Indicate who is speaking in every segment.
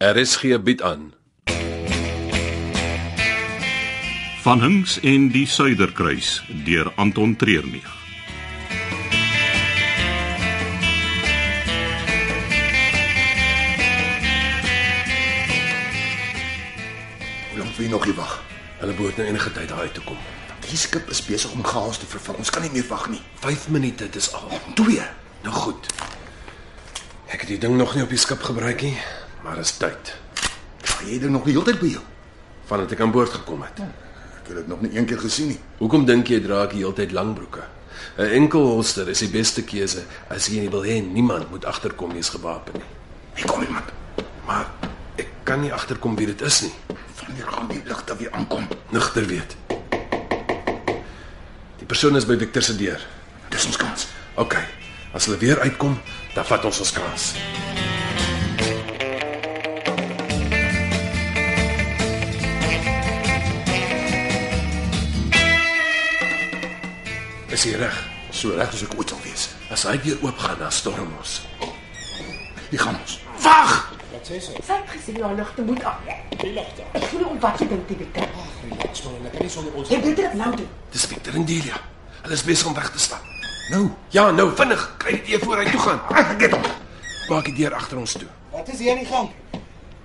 Speaker 1: RSG Er bied aan.
Speaker 2: Van Hinks en die Suiderkruis deur Anton Treurnig.
Speaker 3: Hoe lank wil jy nog hier wag?
Speaker 1: Hulle behoort nou enige tyd daai te kom.
Speaker 3: Die skip is besig om chaos te vervul. Ons kan nie meer wag nie.
Speaker 1: 5 minute dis al.
Speaker 3: Twee.
Speaker 1: Nou goed. Ek het die ding nog nie op die skip gebruik nie, maar is tyd.
Speaker 3: Ja, jy het dit nog die hele tyd by jou.
Speaker 1: Vandat ek aan boord gekom het.
Speaker 3: Ek het dit nog nie een keer gesien nie.
Speaker 1: Hoekom dink jy dra ek die hele tyd langbroeke? 'n Enkel holster is die beste keuse as jy nie wil hê niemand moet agterkom jy's gewapen nie.
Speaker 3: Hier kom iemand.
Speaker 1: Maar ek kan nie agterkom wie dit is nie.
Speaker 3: Wanneer gaan die ligte weer aankom?
Speaker 1: Nigter weet. Die persoon is by Victor se deur.
Speaker 3: Dis ons kans.
Speaker 1: OK. As hulle weer uitkom, dan vat ons ons kans. Is hier reg.
Speaker 3: So reg as ek ooit sal wees.
Speaker 1: As hy weer oop gaan, dan storm ons.
Speaker 3: Hier gaan ons.
Speaker 1: Wag!
Speaker 4: Sy het gesê jou nou ligte moet aan. Die ligte. Ek voel om wat jy dink die bitter. Ag, relax man, ek kan nie sonder ons. Jy weet dit nou doen.
Speaker 1: Dis Victor en Delia. Hulle is besig om weg te stap.
Speaker 3: Nou,
Speaker 1: Ja, nou vinnig. Kry dit eer voor hy toe gaan.
Speaker 3: ek het hom.
Speaker 1: Maak die deur agter ons toe.
Speaker 5: Wat is hier aan die gang?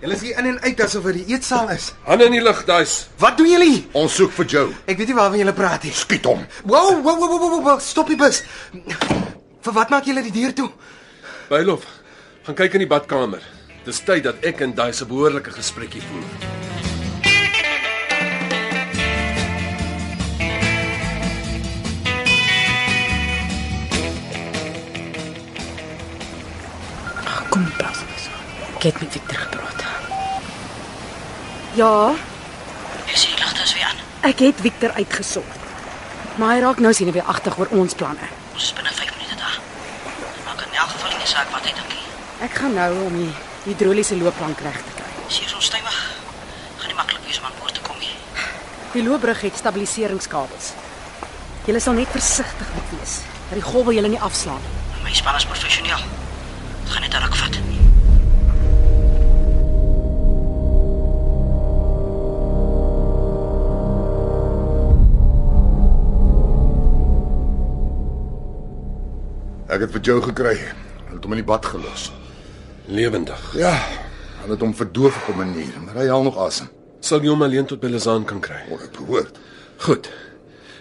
Speaker 5: Julle is hier in en uit asof dit die eetsaal is.
Speaker 1: Hande in die lug, daai's.
Speaker 5: Wat doen julle? hier?
Speaker 3: Ons soek vir Joe.
Speaker 5: Ek weet nie waarvan julle praat nie.
Speaker 3: Skiet hom.
Speaker 5: Wow, wow, wow, wow, wow, wow, stop die bus. Vir wat maak julle die deur toe?
Speaker 1: Bylof, gaan kyk in die badkamer. Dis tyd dat ek en daai se behoorlike gesprekkie voer.
Speaker 4: Kom pas ons. Ek het met Victor gepraat.
Speaker 6: Ja,
Speaker 4: Is jy ligte as weer aan? Ek het Victor uitgesort. Maar hy raak nou sien weer agter oor ons planne.
Speaker 7: Ons is binne 5 minute daar. Dit maak in elk geval nie saak wat hy dink nie.
Speaker 4: Ek gaan nou om die hidroliese loopplank reg te kry.
Speaker 7: Sy is onstuimig. Gaan nie maklik wees om aan boord te kom nie.
Speaker 4: Die loopbrug het stabiliseringskabels. Jy sal net versigtig moet wees. Dat die golwe julle nie afslaan.
Speaker 7: My span is professioneel. Dit gaan net ruk vat.
Speaker 3: Ek het vir Joe gekry. Hulle het hom in die bad gelos.
Speaker 1: Lewendig.
Speaker 3: Ja, hulle het hom verdoof op 'n manier, maar hy haal nog asem.
Speaker 1: Sal jy hom alleen tot by Lazaan kan kry?
Speaker 3: Hoor ek behoort.
Speaker 1: Goed.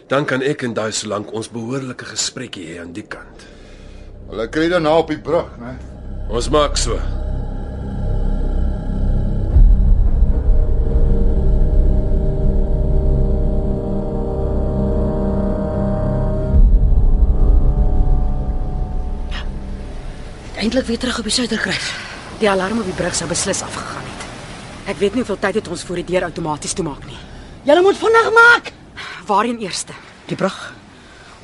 Speaker 1: Dan kan ek en daai solank ons behoorlike gesprekkie hê aan die kant.
Speaker 3: Hulle kry daarna op die brug, né?
Speaker 1: Ons maak so.
Speaker 7: Eindelik weer terug op die suiderkruis.
Speaker 4: Die alarm op die brug sou beslis afgegaan het. Ek weet nie hoeveel tyd het ons voor die deur outomaties toemaak nie.
Speaker 7: Julle moet vinnig maak.
Speaker 4: Waarheen eerste?
Speaker 7: Die brug.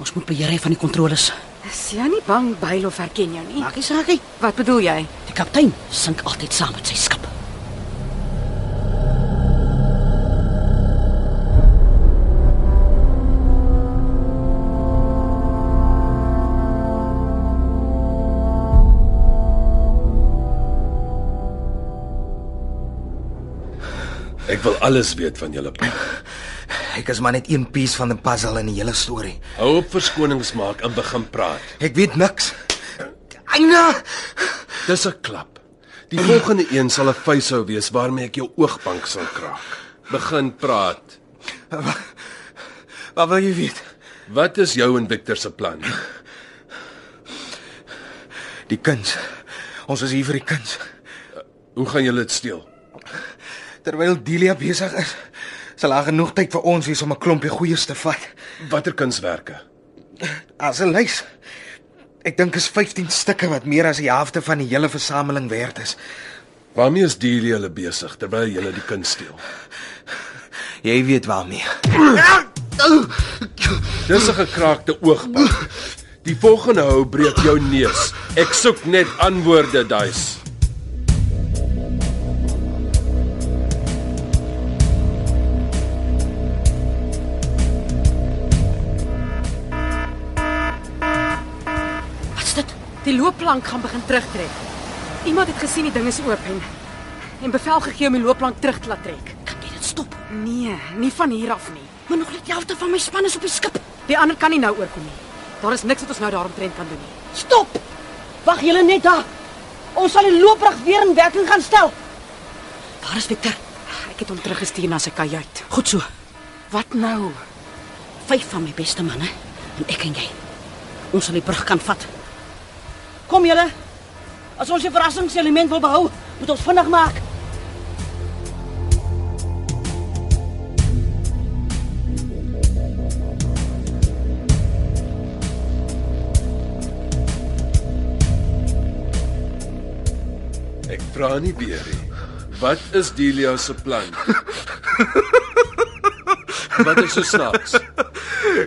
Speaker 7: Ons moet beheer hê van die kontroles.
Speaker 4: Is jy nie bang byl of herken jou nie?
Speaker 7: Maak nie saak nie.
Speaker 4: Wat bedoel jy?
Speaker 7: Die kaptein sink altyd saam met sy skip.
Speaker 1: Ek wil alles weet van julle. pa.
Speaker 5: Ek is maar net een piece van 'n puzzle in die hele storie.
Speaker 1: Hou op verskonings maak en begin praat.
Speaker 5: Ek weet niks. Eina,
Speaker 1: Dis 'n klap. Die volgende een sal 'n vyshou wees waarmee ek jou oogbank sal kraak. Begin praat.
Speaker 5: wat wil jy weet?
Speaker 1: Wat is jou en Victor se plan?
Speaker 5: Die kuns. Ons is hier vir die kuns.
Speaker 1: Hoe gaan julle dit steel?
Speaker 5: Terwyl Delia besig is, sal daar genoeg tyd vir ons wees om 'n klompie goeies te vat.
Speaker 1: Watter kunswerke?
Speaker 5: As 'n lys. Ek dink is 15 stukke wat meer as die helfte van die hele versameling werd is.
Speaker 1: Waarmee is Delia hulle besig terwyl julle die kind steel?
Speaker 5: Jy weet waarmee.
Speaker 1: Dis 'n gekraakte oogpunt. Die volgende hou breek jou neus. Ek soek net antwoorde, duis.
Speaker 7: Wat's dit?
Speaker 4: Die loopplank gaan begin terugtrek. Iemand het gesien die ding is oop en
Speaker 6: en bevel gegee om die loopplank terug te laat trek.
Speaker 7: Kan jy dit stop?
Speaker 6: Nee, nie van hier af nie.
Speaker 7: Maar nog net die helfte van my span is op die skip.
Speaker 6: Die ander kan nie nou oorkom nie. Daar is niks wat ons nou daaromtrent kan doen nie.
Speaker 7: Stop! Wag julle net daar. Ons sal die loopbrug weer in werking gaan stel. Waar is Victor?
Speaker 6: Ek het hom teruggestuur na sy kajuit.
Speaker 7: Goed so.
Speaker 6: Wat nou?
Speaker 7: Vyf van my beste manne en ek en jy. Ons sal die brug kan vat. Kom julle. As ons die verrassingselement wil behou, moet ons vinnig maak.
Speaker 1: Ek vra nie weer nie. Wat is Delia se plan? Wat is so snaaks?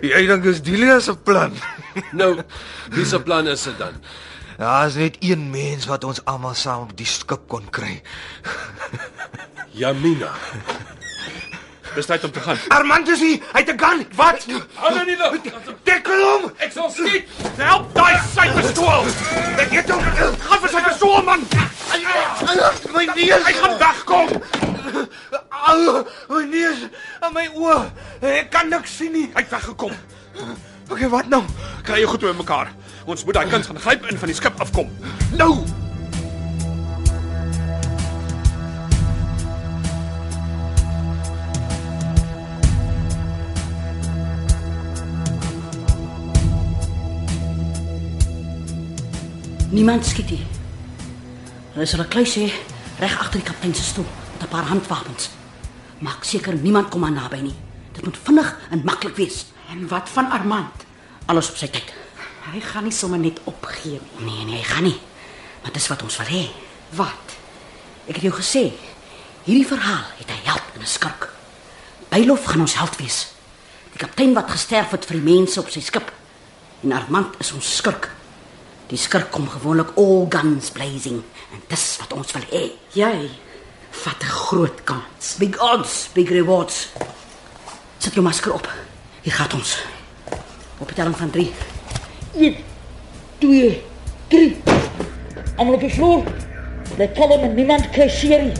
Speaker 5: Jy dink dis Delia se plan.
Speaker 1: Nou, wie se plan is dit dan?
Speaker 5: Daar Ja, is net een mens wat ons almal saam op die skip kon kry.
Speaker 1: Jamina.
Speaker 8: Dis tyd om te gaan.
Speaker 5: Armand is nie, hy het 'n gun. Wat?
Speaker 8: Hou nie lug.
Speaker 5: Dekkel hom.
Speaker 8: Ek sal skiet. Help daai sypistool.
Speaker 5: Ek het hom.
Speaker 8: Gaan vir sy pistool man.
Speaker 5: My neus.
Speaker 8: Hy gaan wegkom.
Speaker 5: Au, my neus en my oë. Ek kan niks sien nie.
Speaker 8: Hy het weggekom.
Speaker 5: Okay, wat nou?
Speaker 8: Kry jou goed toe in mekaar. Ons moet daai kind gaan gryp en van die skip afkom.
Speaker 5: Nou.
Speaker 7: Niemand skiet hier. Hulle sal 'n kluis hê reg agter die kaptein se stoel met 'n paar handwapens. Maak seker niemand kom aan naby nie. Dit moet vinnig en maklik wees.
Speaker 6: En wat van Armand?
Speaker 7: Alles op sy tyd.
Speaker 6: Hy gaan nie sommer net opgee nie.
Speaker 7: Nee, nee, hy gaan nie. Maar dis wat ons wil hê.
Speaker 6: Wat?
Speaker 7: Ek het jou gesê, hierdie verhaal het 'n held en 'n skurk. Bylof gaan ons held wees. Die kaptein wat gesterf het vir die mense op sy skip. En Armand is ons skurk. Die skurk kom gewoonlik all guns blazing en dis wat ons wil hê.
Speaker 6: Jy vat 'n groot kans.
Speaker 7: Big odds, big rewards. Zet je masker op. Hier gaat ons. Op de telling van drie. Eén, twee, drie. Allemaal op de vloer. Blijf kalm en niemand krijgt serie.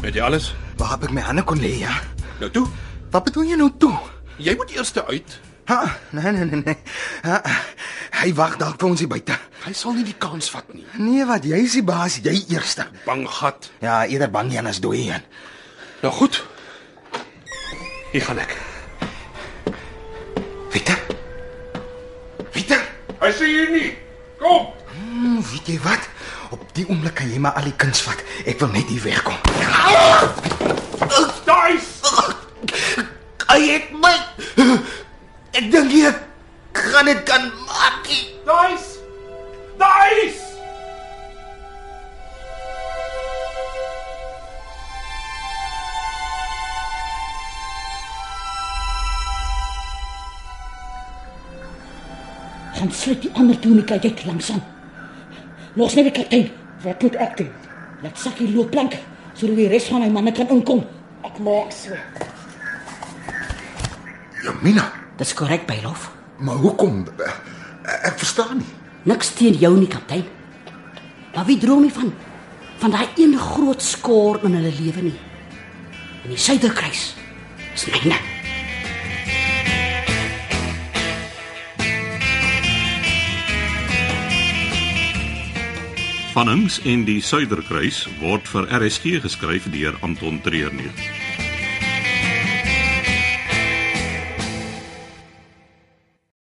Speaker 8: Weet jy alles?
Speaker 5: Waar heb ek my hande kon lê, ja?
Speaker 8: Nou toe.
Speaker 5: Wat bedoel jy nou toe?
Speaker 8: Jy moet eers uit.
Speaker 5: Ha, nee nee nee. nee. Ha, hy wag dalk vir ons hier buite.
Speaker 8: Hy sal nie die kans vat nie.
Speaker 5: Nee, wat jy is die baas, jy eerste.
Speaker 8: Bang gat.
Speaker 5: Ja, eerder bang Jan as dooi Jan.
Speaker 8: Nou goed. Hier gaan ek.
Speaker 5: Pieter. Pieter,
Speaker 8: Hy sien hier nie. Kom.
Speaker 5: hmm, weet jy wat? Op die oomblik kan jy maar al die kuns vat. Ek wil net hier wegkom.
Speaker 8: Daai
Speaker 5: Hy het my Ek dink jy gaan dit kan maak. nie.
Speaker 8: Nice! Nice!
Speaker 7: Gaan sluit die ander toe en kijk ik langzaam. Los naar de kapitein. Wat moet ik doen? Laat zak hier loopplank, zodat de rest van mijn mannen kan omkomen.
Speaker 4: Ek maak so.
Speaker 3: Jamina,
Speaker 7: Dat is correct, Bijlof.
Speaker 3: maar hoekom? Eh, Ek verstaan nie.
Speaker 7: Niks teen jou nie, kaptein. Maar wie droom nie van van daai een groot skoor in hulle lewe nie. En die suiderkruis is myne.
Speaker 2: Van Hinks en die Suiderkruis word vir RSG geskryf deur Anton Treurnig.